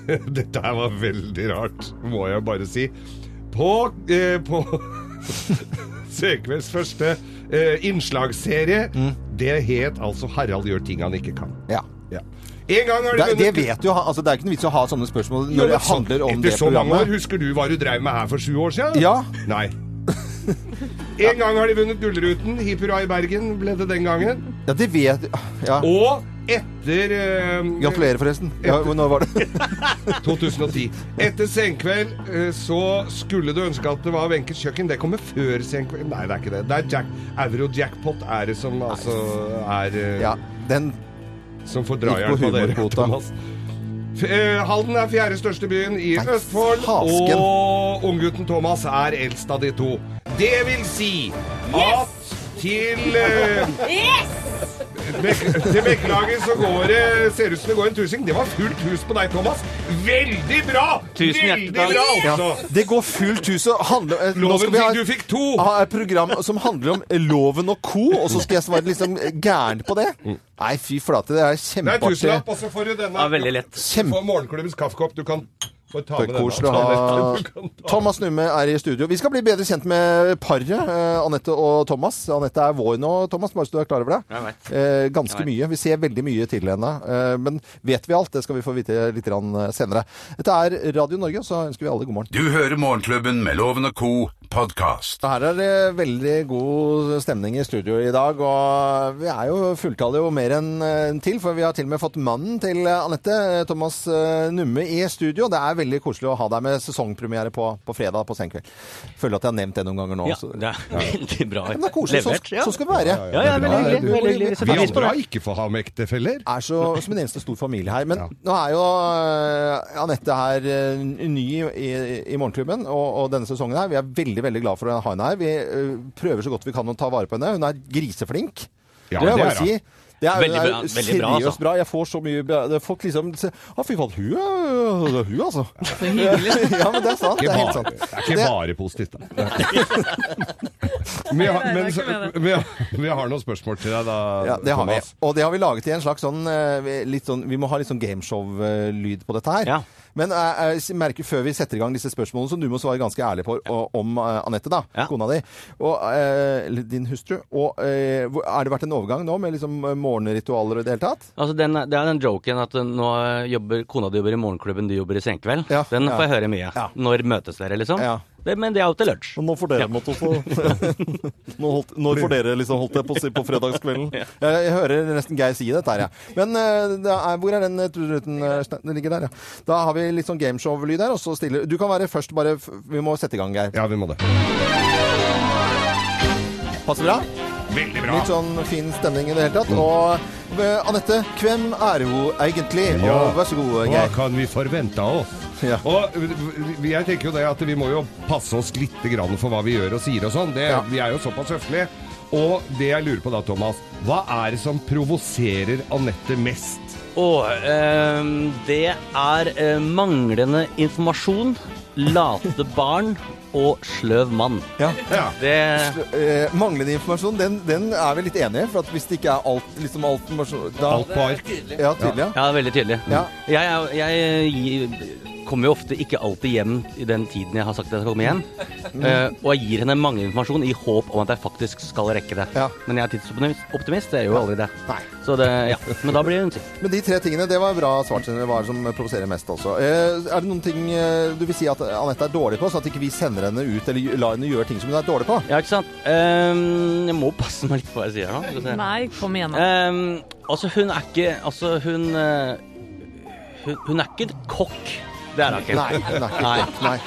S2: for- Dette her var veldig rart, må jeg bare si. På, eh, på Søkvelds første eh, innslagsserie, det het altså 'Harald gjør ting han ikke kan'.
S1: Mm. Ja.
S2: Ja. En gang har de
S1: Det, det
S2: vunnet-
S1: vet jo han. Altså, det er ikke noe vits å ha sånne spørsmål når det handler om det
S2: Etter så mange år,
S1: programmet.
S2: husker du hva du drev med her for sju år siden?
S1: Ja.
S2: Nei. En gang har de vunnet Gullruten. Hipp hurra i Bergen ble det den gangen.
S1: Ja, det vet Ja.
S2: Og etter eh,
S1: Gratulerer, forresten. Ja, men nå var det
S2: 2010. Etter Senkveld eh, så skulle du ønske at det var Wenches kjøkken. Det kommer før Senkveld. Nei, det er ikke det. Det er Jack, Euro-jackpot er det som altså er eh,
S1: Ja, den
S2: Som får
S1: Gikk
S2: drahjelp
S1: på
S2: av dere,
S1: humorkvota.
S2: Thomas. F eh, Halden er fjerde største byen i
S1: Nei,
S2: Østfold,
S1: fasken.
S2: og unggutten Thomas er eldst av de to. Det vil si at til eh, Bek til Bekkelaget så går det ser ut som det går en tusing. Det var fullt hus på deg, Thomas. Veldig bra!
S10: Tusen hjertelig
S2: Veldig
S10: takk.
S2: bra,
S1: ja.
S2: altså.
S1: Det går fullt hus og handler eh, Nå
S2: Loven
S1: skal
S2: fikk, du
S1: vi ha Ah,
S2: fikk to.
S1: ha et program som handler om loven og co., og så skal jeg svare liksom gæren på det?
S10: Mm.
S1: Nei, fy flate, det
S2: Det
S1: er
S2: er en
S1: kjempeartig.
S2: tusenlapp, og så får du denne.
S10: Ja, veldig lett.
S2: Du
S1: Kjempe
S2: får morgenklubbens kaffekopp. Du kan få ta med
S1: Koselig å
S2: denne. altså.
S1: ha
S2: Du kan ta-
S1: Thomas Numme er i studio. Vi skal bli bedre kjent med paret, eh, Anette og Thomas. Anette er vår nå, Thomas, bare så du er klar over det.
S10: Jeg vet.
S1: Eh, ganske
S10: Jeg vet.
S1: mye. Vi ser veldig mye til henne. Eh, men vet vi alt? Det skal vi få vite litt grann, eh, senere. Dette er Radio Norge, så ønsker vi alle god morgen.
S4: Du hører Morgenklubben med Loven og co. podkast.
S1: Her er det veldig god stemning i studio i dag, og vi er jo fulltallige og mer enn eh, til, for vi har til og med fått mannen til eh, Anette, eh, Thomas eh, Numme, i studio. Det er veldig koselig å ha deg med sesongpremiere på, på fredag på Senkveld. Føler at jeg har nevnt det noen ganger nå.
S10: Ja,
S1: så-
S10: det er veldig bra.
S1: Men det er koselig. Sånn
S10: levert, ja.
S1: så skal det være.
S10: Ja, ja, veldig hyggelig.
S1: du-
S10: Veldig hyggelig. Vi
S2: Vi
S10: setter pris på
S2: andre
S10: det.
S2: har ikke fått ha med ektefeller.
S1: er så, som en eneste stor familie her. Men nå er jo eh, Anette her eh, ny i, i Morgenklubben, og, og denne sesongen her. Vi er veldig veldig glad for å ha henne her. Vi eh, prøver så godt vi kan å ta vare på henne. Hun er griseflink.
S2: Ja,
S1: må jeg
S2: det
S1: bare
S2: er hun.
S1: Si. Det er,
S10: Veldig
S1: det
S10: bra-
S1: er
S10: veldig bra,
S1: seriøst
S10: altså.
S1: bra. Jeg får så mye bra- Folk liksom se- Å, fy faen, hun er det er hun, altså. ja, men det er sant. Det
S2: Ikke
S1: er helt
S2: bare,
S1: sant.
S2: det er ikke
S1: Det-
S2: bare positivt. da. vi, har, men, vi, har, vi har noen spørsmål til deg, da.
S1: Ja, det har vi.
S2: Thomas.
S1: Og det har vi laget i en slags sånn, eh, litt sånn Vi må ha litt sånn gameshow-lyd på dette her.
S10: Ja.
S1: Men eh, jeg merker før vi setter i gang disse spørsmålene, som du må svare ganske ærlig på og- om eh, Anette, da,
S10: Ja.
S1: kona di, og eh, eller din hustru. Og eh, hvor- har det vært en overgang nå med liksom eh, morgenritualer og i det hele tatt?
S10: Altså den, det er den joken at nå jobber, kona di jobber i morgenklubben, du jobber i senkveld.
S1: Ja,
S10: den
S1: ja.
S10: får jeg høre mye.
S1: Ja.
S10: Når møtes dere, liksom?
S1: Ja.
S10: Det, men det er jo til lunsj.
S1: nå får dere måttet Nå holdt- når får dere liksom holdt det på, å si på fredagskvelden? Jeg, jeg hører nesten Geir si dette her, jeg. Men eh, det er, hvor er den eh, truten eh, Stein? Den ligger der, ja. Da har vi litt sånn gameshow-lyd her, og så stiller Du kan være først, bare f- Vi må sette i gang, Geir.
S2: Ja, vi må det.
S1: Passer bra?
S2: Veldig bra.
S1: Litt sånn fin stemning i det hele tatt. Og eh, Anette, hvem er hun egentlig?
S2: Ja.
S1: Og vær så god,
S2: Hva
S1: Geir.
S2: kan vi forvente av oss?
S1: Ja.
S2: Og v- v- jeg tenker jo det at vi må jo passe oss litt grann for hva vi gjør og sier og sånn. Det-
S1: Ja.
S2: Vi er jo såpass høflige. Og det jeg lurer på da, Thomas, hva er det som provoserer Anette mest?
S10: Og ehm, det er eh, manglende informasjon, late barn og sløv mann.
S1: Ja.
S2: Ja.
S10: Det
S1: Eh, manglende informasjon, den, den er vi litt enige i. For at hvis det ikke er alt, liksom alt informasjon da,
S2: Alt på ark.
S1: Ja, tydelig. Ja.
S10: Ja, veldig tydelig.
S1: Ja.
S10: Jeg, er- jeg gir- kommer jo ofte ikke alltid hjem i den tiden jeg har sagt at jeg skal komme hjem.
S1: Mm.
S10: Eh, og jeg gir henne mange informasjon i håp om at jeg faktisk skal rekke det.
S1: Ja.
S10: Men jeg er tidsoptimist, jeg gjør jo aldri det.
S1: Nei.
S10: Så det, ja. Men da blir hun sint.
S1: Men de tre tingene, det var bra svart. Sindre. Hva er det som provoserer mest også? Eh, er det noen ting eh, du vil si at Anette er dårlig på, sånn at ikke vi sender henne ut eller lar henne gjøre ting som hun er dårlig på?
S10: Ja, ikke sant? Ehm, jeg må passe meg litt på hva jeg sier nå. Skal vi se.
S3: Nei, kom igjen. da.
S10: Ehm, altså, hun er ikke Altså, hun eh, Hun, hun er ikke en kokk. Det er hun ikke.
S1: Nei. nei, nei. nei.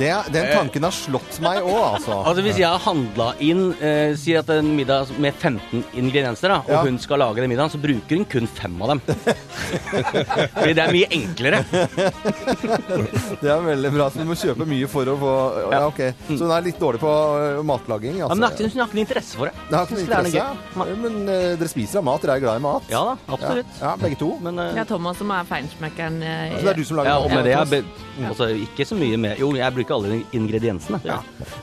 S1: Det, den tanken har slått meg òg, altså.
S10: Altså Hvis jeg har handla inn eh, Sier at en middag med 15 ingredienser, da, og
S1: Ja.
S10: hun skal lage den middagen, så bruker hun kun fem av dem. Fordi det er mye enklere.
S1: Det er veldig bra. Så du må kjøpe mye for å få Ja, OK. Så hun er litt dårlig på eh, matlaging,
S10: Ja, men hun har
S1: altså.
S10: ikke- hun har ikke noe interesse for det.
S1: Det har ikke noe
S10: Synes det er noe
S1: interesse.
S10: gøy.
S1: ja. Men eh, dere spiser av mat. Dere er glad i mat.
S10: Ja da, absolutt.
S1: Ja, ja, begge to.
S10: Men eh,
S3: Det er Thomas som er feinschmeckeren. eh,
S1: Så det er du som lager
S10: ja, og med det
S1: Thomas.
S10: jeg be- Altså, ikke så mye mer Jo, jeg bruker alle ingrediensene. Ja.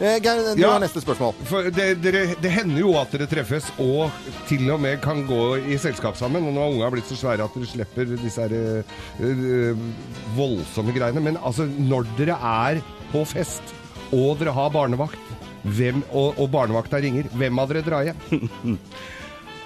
S1: Eh, Geir, du
S2: Ja.
S1: har neste spørsmål.
S2: For det, dere, det hender jo at dere treffes og til og med kan gå i selskap sammen. Og nå har unga blitt så svære at dere slipper disse her, eh, eh, voldsomme greiene. Men altså, når dere er på fest og dere har barnevakt, hvem, og, og barnevakta ringer, hvem av dere drar hjem?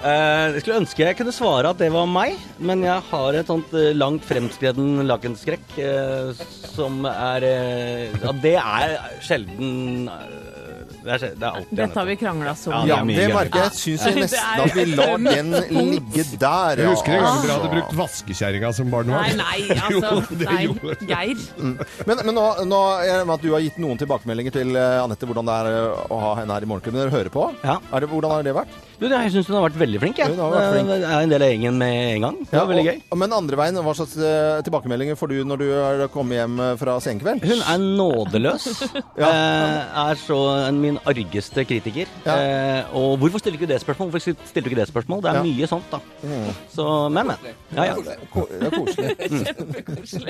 S10: Eh, jeg skulle ønske jeg kunne svare at det var meg, men jeg har et sånt eh, langt fremskreden lakenskrekk eh, som er eh, Ja, det er sjelden eh, Det er, sjel- det er alltid
S3: Dette har vi krangla så
S10: Ja,
S3: mye
S1: Ja,
S10: det er mye
S1: det
S10: gøy.
S1: merker jeg. Syns jeg
S3: Ja.
S1: nesten at vi lar den ligge der,
S2: Jeg
S1: ja.
S2: husker en gang dere
S1: altså.
S2: hadde brukt vaskekjerringa som
S3: Nei,
S2: barnevakt.
S3: nei,
S2: Jo,
S3: altså.
S2: det
S3: Nei,
S2: gjorde det.
S3: Geir.
S1: Men, men nå, nå er det med at du har gitt noen tilbakemeldinger til eh, Anette hvordan det er eh, å ha henne her i morgenklubben. Dere hører på.
S10: Ja.
S1: Er det, hvordan har det vært?
S10: Du, jeg syns hun har vært veldig flink. Jeg.
S1: Ja, hun har vært flink.
S10: Jeg er en del av gjengen med en gang. Det var veldig gøy.
S1: Og, men andre veien, hva slags eh, tilbakemeldinger får du når du er kommet hjem eh, fra senkveld?
S10: Hun er nådeløs.
S1: Ja.
S10: eh, Er så min argeste kritiker.
S1: Ja.
S10: Eh, Og hvorfor stiller ikke du det spørsmål? Hvorfor stiller du ikke det spørsmål? Det er
S1: Ja. Mm.
S10: mye sånt, da. Så men, men. Ja, ja.
S1: Ko det er koselig.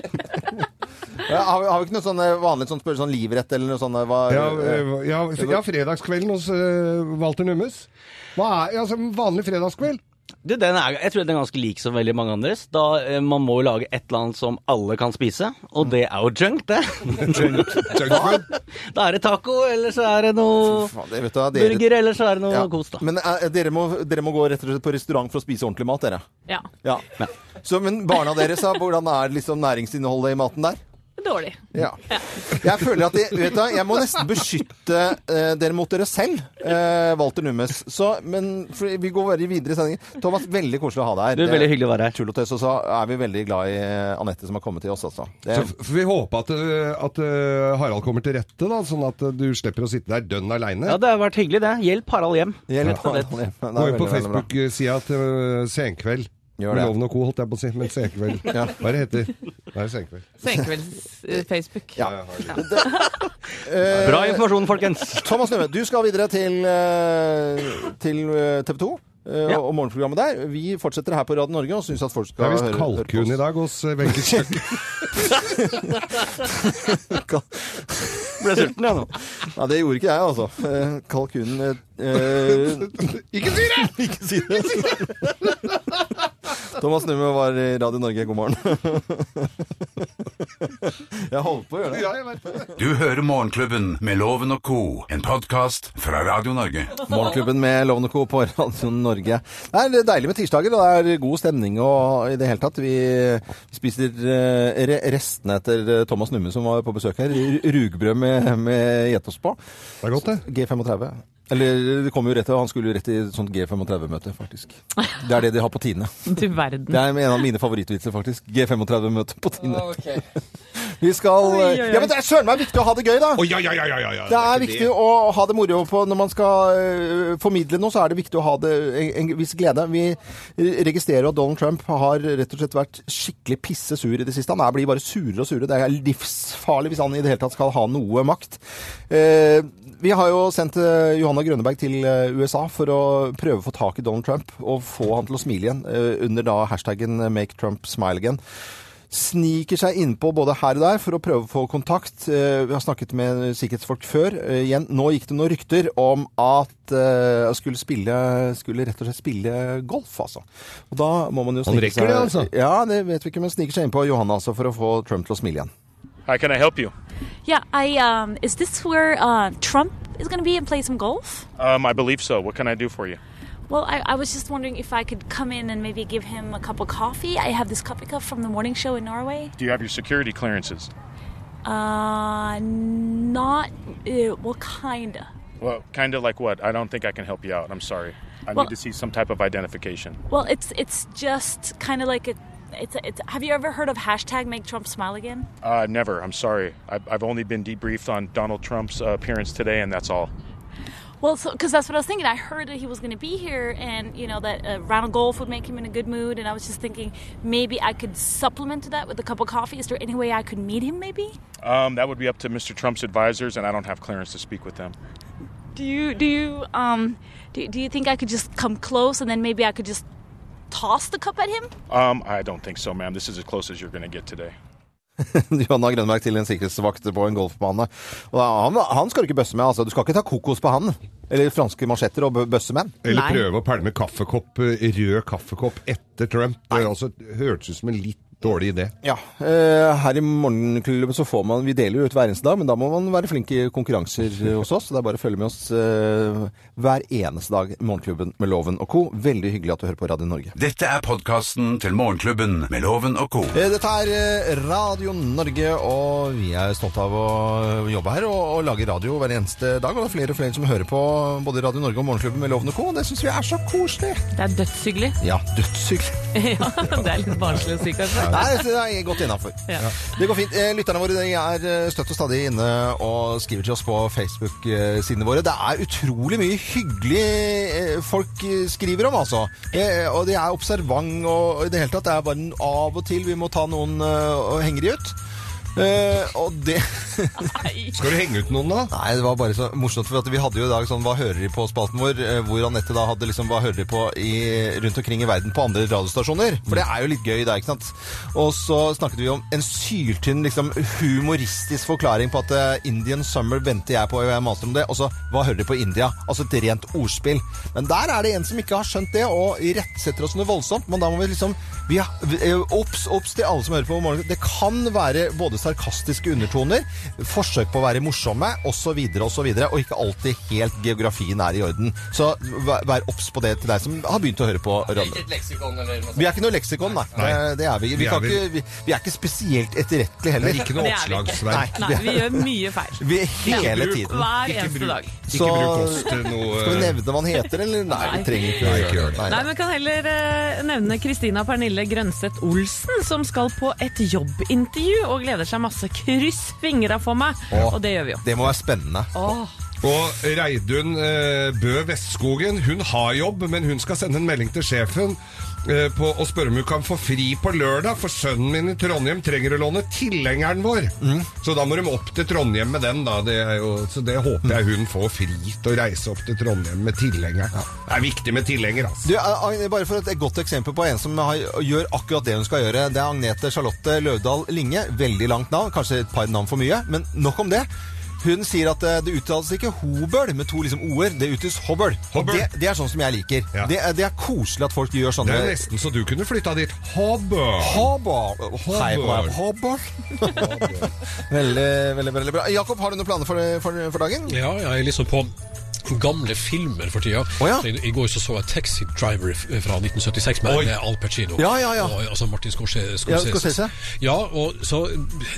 S1: Ja, har, vi, har vi ikke noe sånn eh, vanlig sånn, spør- sånn livrett eller noe sånt? eh, Hva,
S2: Ja,
S1: eh,
S2: eh, ja, så- ja, fredagskvelden hos eh, Walter Nummes. Hva er altså, en vanlig fredagskveld?
S10: Du, den er, jeg tror den er ganske lik som veldig mange andres. Da eh, Man må jo lage et eller annet som alle kan spise, og det er jo junk, det.
S2: Junkfood?
S10: Da er det taco, eller så er det noe
S1: faen, det vet du, hva, dere,
S10: burger, eller så er det noe
S1: ja.
S10: kos, da.
S1: Men eh, dere, må, dere må gå rett og slett på restaurant for å spise ordentlig mat, dere.
S3: Ja.
S1: Ja. Så, men barna deres, da, hvordan er liksom næringsinnholdet i maten der?
S3: Dårlig.
S1: Ja. Jeg føler at jeg, vet du, hva, jeg må nesten beskytte eh, dere mot dere selv, eh, Walter Nummes. Så, men for, vi går bare videre i sendingen. Thomas, veldig koselig å ha deg her.
S10: Det er veldig hyggelig å være her.
S1: Tull og tøys, og så er vi veldig glad i eh, Anette som har kommet til oss, altså. Det,
S2: Så f- vi håper at, øh, at øh, Harald kommer til rette, da, sånn at øh, du slipper å sitte der dønn aleine.
S10: Ja, det har vært hyggelig, det. Hjelp Harald hjem.
S1: Hjelp,
S10: Rett og slett.
S1: Anette. Det
S2: Gå
S1: er
S2: inn
S1: veldig,
S2: på
S1: veldig bra.
S2: Facebook-sida til øh, Senkveld.
S1: Gjør
S2: Med
S1: det.
S2: Loven og Co, holdt jeg på å si. Men Senkveld. Hva er det heter? Nei, Senkveld.
S3: Senkvelds eh, Facebook.
S1: Ja.
S2: Ja, Harald.
S1: Eh,
S10: Bra informasjon, folkens.
S1: Thomas Numme, du skal videre til, eh, til TV 2.
S10: Ja.
S1: eh, Og morgenprogrammet der. Vi fortsetter her på Radio Norge og syns at folk
S2: Det
S1: skal
S2: er
S1: høre-
S2: visst
S1: høre på
S2: kalkun
S1: oss.
S2: i dag hos øh, Wenche Kjøkken.
S10: Ble sulten, jeg nå.
S1: Nei, det gjorde ikke jeg, altså. Eh, Kalkunen Ikke si det! Ikke si det. Thomas Numme var i Radio Norge, god morgen. Jeg holdt på å gjøre det.
S2: Ja, jeg vet det.
S4: Du hører Morgenklubben med Loven og co., en podkast fra Radio Norge.
S1: Morgenklubben med Loven og Co. på Radio Norge. Nei, Det er deilig med tirsdager, og det er god stemning og i det hele tatt. Vi spiser eh, re- restene etter eh, Thomas Numme som var på besøk her. R- Rugbrød med, med getost på.
S2: Det er godt, det.
S1: G35. Eller det kom jo rett til, han skulle jo rett til et sånt G35-møte, faktisk. Det er det de har på Tine.
S3: Du verden.
S1: Det er en av mine favorittvitser, faktisk. G35-møte på Tine.
S10: Okay.
S1: Vi skal
S3: Oi, oi, oi.
S1: Ja, men det er søren meg viktig å ha det gøy, da!
S2: Å, ja, ja, ja, ja, ja, ja.
S1: Det er
S2: ikke
S1: viktig å ha det moro på når man skal øh, formidle noe, så er det viktig å ha det en, en viss glede. Vi eh, registrerer at Donald Trump har rett og slett vært skikkelig pissesur i det siste. Han er, blir bare surere og surere. Det er livsfarlig hvis han i det hele tatt skal ha noe makt. Eh, vi har jo sendt eh, Johanna Grønneberg til eh, USA for å prøve å få tak i Donald Trump og få han til å smile igjen eh, under da hashtaggen eh, 'Make Trump smile again' sniker seg innpå både her og der for å prøve å få kontakt. Eh, Vi har snakket med sikkerhetsfolk før. Eh, Igjen, nå gikk det noen rykter om at eh, jeg skulle spille skulle rett og slett spille golf, altså. Og da må man jo
S2: Han
S1: snike
S2: rekker det, altså?
S1: Ja, det vet vi ikke, men sniker seg innpå Johanna altså, for å få Trump til å smile igjen.
S9: How can I help you?
S8: Yeah, I um is this where uh Trump is going to be and play some golf?
S9: Um, I believe so. What can I do for you?
S8: Well, I, I was just wondering if I could come in and maybe give him a cup of coffee. I have this coffee cup from the morning show in Norway.
S9: Do you have your security clearances?
S8: Uh not uh, well kinda.
S9: Well, kind of like what? I don't think I can help you out. I'm sorry. I
S8: Well-
S9: need to see some type of identification.
S8: Well, it's it's just kind of like a it's, a- it's have you ever heard of hashtag make Trump smile again?
S9: Uh, never. I'm sorry. I've, I've only been debriefed on Donald Trump's uh, appearance today, and that's all.
S8: Well, because that's what I was thinking. I heard that he was going to be here, and you know that a round of golf would make him in a good mood. And I was just thinking maybe I could supplement that with a cup of coffee. Is there any way I could meet him? Maybe.
S9: Um, that would be up to Mr. Trump's advisors, and I don't have clearance to speak with them.
S8: Do you do you um do, do you think I could just come close and then maybe I could just toss the cup at him?
S9: Um, I don't think so, ma'am. This is as close as you're going to get today.
S1: Johanna Grønberg til en sikkerhetsvakt på en golfbane. Og da, han, han skal du ikke bøsse med, altså. Du skal ikke ta kokos på han. Eller franske mansjetter og bø- bøsse med han.
S2: Eller
S3: Nei.
S2: prøve å pælme kaffekopp, øh, rød kaffekopp etter Trump. Det er altså, hørtes ut som en litt dårlig idé.
S1: Ja. eh, Her i Morgenklubben så får man Vi deler jo ut hver eneste dag, men da må man være flink i konkurranser eh, hos oss. Så det er bare å følge med oss eh, hver eneste dag. Morgenklubben med Loven og co. Veldig hyggelig at du hører på Radio Norge.
S4: Dette er podkasten til Morgenklubben med Loven og co.
S1: Eh, Dette er eh, Radio Norge, og vi er stolte av å jobbe her og, og lage radio hver eneste dag. Og det er flere og flere som hører på både Radio Norge og Morgenklubben med Loven og co. Det syns vi er så koselig.
S3: Det er dødshyggelig.
S1: Ja, dødshyggelig.
S3: ja, det er litt barnslig å si, kanskje.
S1: Nei, det er godt innafor.
S3: Ja.
S1: Det går fint. Eh, Lytterne våre de er eh, støtt og stadig inne og skriver til oss på Facebook-sidene våre. Det er utrolig mye hyggelig eh, folk eh, skriver om, altså. Eh, Og de er observant og og i det hele tatt. Det er bare en av og til vi må ta noen eh, og henge de ut. Eh, og det
S2: Skal du henge ut noen, da?
S1: Nei, det var bare så morsomt, for at vi hadde jo i dag sånn Hva hører de på? spalten vår, eh, hvor Anette da hadde liksom Hva hører de på i, rundt omkring i verden på andre radiostasjoner? For det er jo litt gøy der, ikke sant? Og så snakket vi om en syltynn, liksom humoristisk forklaring på at eh, Indian Summer venter jeg på, og jeg maser om det. Og så Hva hører de på i India? Altså et rent ordspill. Men der er det en som ikke har skjønt det, og irettsetter oss noe voldsomt. Men da må vi liksom vi, har- vi- eh, Obs, obs til alle som hører på om morgenen. Det kan være både sarkastiske undertoner, forsøk på å være morsomme osv., osv., og ikke alltid helt geografien er i orden. Så vær vær obs på det til deg som har begynt å høre på radio.
S13: et leksikon eller noe
S1: Vi er ikke noe leksikon, nei. Det, det er vi. Vi,
S13: Vi er
S1: kan
S13: vel-
S1: ikke, vi, vi er ikke spesielt etterrettelige heller.
S3: Det er vi ikke. Nei, vi gjør mye feil.
S1: Vi hele tiden.
S3: Hver eneste dag.
S1: Så
S2: eh,
S1: Skal vi nevne hva han heter, eller? Nei, vi trenger ikke å gjøre det.
S3: Nei, men kan heller eh, nevne Kristina Pernille Grønseth Olsen, som skal på et jobbintervju og gleder seg masse. Kryss fingra for meg!
S2: Åh.
S3: Og det gjør vi jo.
S1: Det må være spennende.
S3: Åh.
S2: Og Reidun eh, Bø Vestskogen, hun har jobb, men hun skal sende en melding til sjefen eh, på, og spørre om hun kan få fri på lørdag, for sønnen min i Trondheim trenger å låne tilhengeren vår. Så da må de opp til Trondheim med den, da. Det er jo, så det håper jeg hun får fri til å reise opp til Trondheim med tilhengeren. Det er viktig med tilhenger, altså.
S1: Du, eh, Agne, bare for et godt eksempel på en som har, gjør akkurat det hun skal gjøre. Det er Agnete Charlotte Løvdahl Linge. Veldig langt navn, kanskje et par navn for mye, men nok om det. Hun sier at eh, det uttales ikke hobøl med to liksom o-er, det uttales hobbøl. Og Det, det er sånn som jeg liker. Det, er, det er koselig at folk gjør sånne
S2: Det er nesten så du kunne flytta dit. Hobbøl!
S1: Hobbøl! Hei på deg. Veldig, veldig, veldig bra. Jakob, har du noen planer for, for, for dagen?
S6: Ja, jeg er liksom på gamle filmer for tida. Så i, I går så, så jeg Taxi Driver f- fra 1976 med,
S1: Oi.
S6: med Al Pacino.
S1: Ja, ja, ja.
S6: Og, altså Martin Scorsese.
S1: Ja, Scorsese.
S6: Ja, og så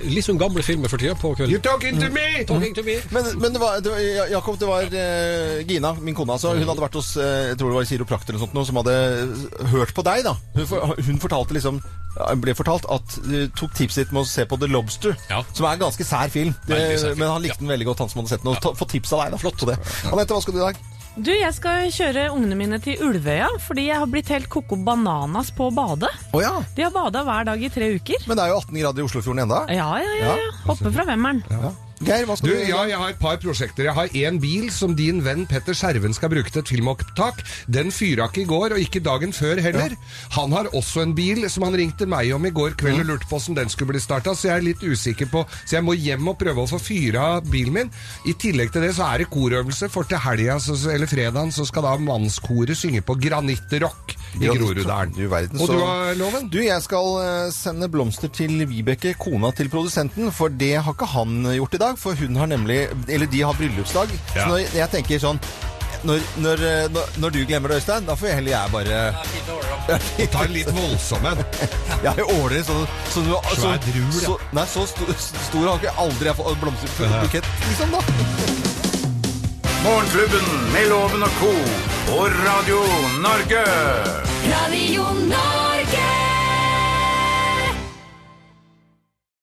S6: litt sånn gamle filmer for tida på kvelden.
S2: You're talking to me!
S6: Talking to me.
S1: Men, men det var, det var, Ja- Jakob, det var eh, Gina, min kone, altså. Hun hadde vært hos eh, jeg tror det var kiropraktor eller noe sånt, nå, som hadde eh, hørt på deg, da. Hun, for, hun fortalte liksom ja, ble fortalt at eh, tok tipset ditt med å se på The Lobster, som er en ganske sær film. Det,
S6: Veldig sær film.
S1: Men han likte den veldig godt, han som hadde sett den. Og ta, få tips av deg, da. Flott. Det. Anette, hva skal du i dag?
S3: Du, jeg skal kjøre ungene mine til Ulvøya, fordi jeg har blitt helt koko bananas på å bade.
S1: Å ja.
S3: De har bada hver dag i tre uker.
S1: Men det er jo 18 grader i Oslofjorden enda.
S3: Ja, ja, ja. ja. Hoppe fra femmeren.
S1: Geir, hva skal du-
S2: Ja, jeg har et par prosjekter. Jeg har én bil som din venn Petter Skjerven skal bruke til et filmopptak. Den fyra ikke i går, og ikke dagen før heller. Han har også en bil som han ringte meg om i går kveld
S1: Mm.
S2: og lurte på hvordan den skulle bli starta, så jeg er litt usikker på Så jeg må hjem og prøve å få fyra bilen min. I tillegg til det så er det korøvelse, for til helga, så- eller fredagen, så skal da mannskoret synge på Granittrock i Groruddalen.
S1: Du verden,
S2: Og
S1: så-
S2: du har loven?
S1: Du, jeg skal eh, sende blomster til Vibeke, kona til produsenten, for det har ikke han gjort i dag, for hun har nemlig, eller de har bryllupsdag. Så
S2: Ja.
S1: når jeg tenker sånn, når, når, eh, når, når du glemmer det, Øystein, da får jeg heller jeg bare...
S2: Ta en litt voldsom en.
S1: Jeg åler så, så, så, så,
S2: Svær drul, ja.
S1: så, nei, så stor, stor har ikke aldri jeg fått blomsterbukett, liksom da.
S4: Morgenklubben med Loven og co. på Radio Norge.
S9: Radio Norge.